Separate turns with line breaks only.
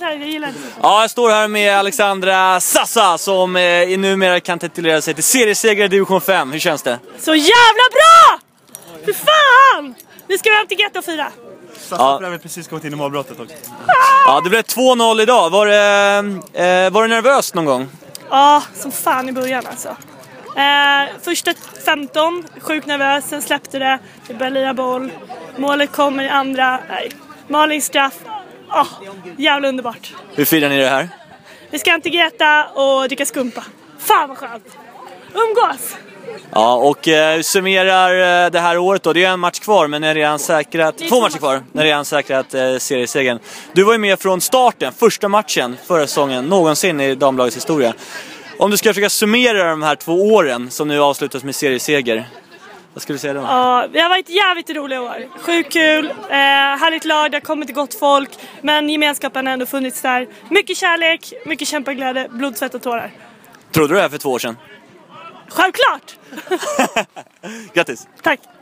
jag gillar inte sånt.
Ja, jag står här med Alexandra Sassa som eh, numera kan titulera sig till seriesegrare i division 5. Hur känns det?
Så jävla bra! Fy fan! Nu ska vi hem till Ghetto och fira.
Sassa
Ja.
har för övrigt precis gått in i målbrottet också.
Ja, det blev 2-0 idag. Var, det, eh, var du nervös någon gång?
Ja, som fan i början alltså. Eh, första 15, sjukt nervös, sen släppte det. Det började lira boll. Målet kommer i andra. Nej. Malins straff. Ah, jävla underbart.
Hur firar ni det här?
Vi ska hem till Greta och dricka skumpa. Fan vad skönt! Umgås!
Ja, och eh, summerar eh, det här året då. Det är en match kvar, men ni har redan säkrat...
är
Två
två
matcher
matcher.
kvar, när redan säkrat eh, seriesegern. Du var ju med från starten, första matchen förra säsongen, någonsin i damlagets historia. Om du ska försöka summera de här två åren som nu avslutas med serieseger, vad skulle du säga då?
Ja, vi har varit jävligt roliga år. Sjukt kul, eh, härligt lag, det har kommit gott folk. Men gemenskapen har ändå funnits där. Mycket kärlek, mycket kämpaglädje, blod, svett och tårar.
Trodde du det här för två år sedan?
Självklart!
Grattis!
Tack!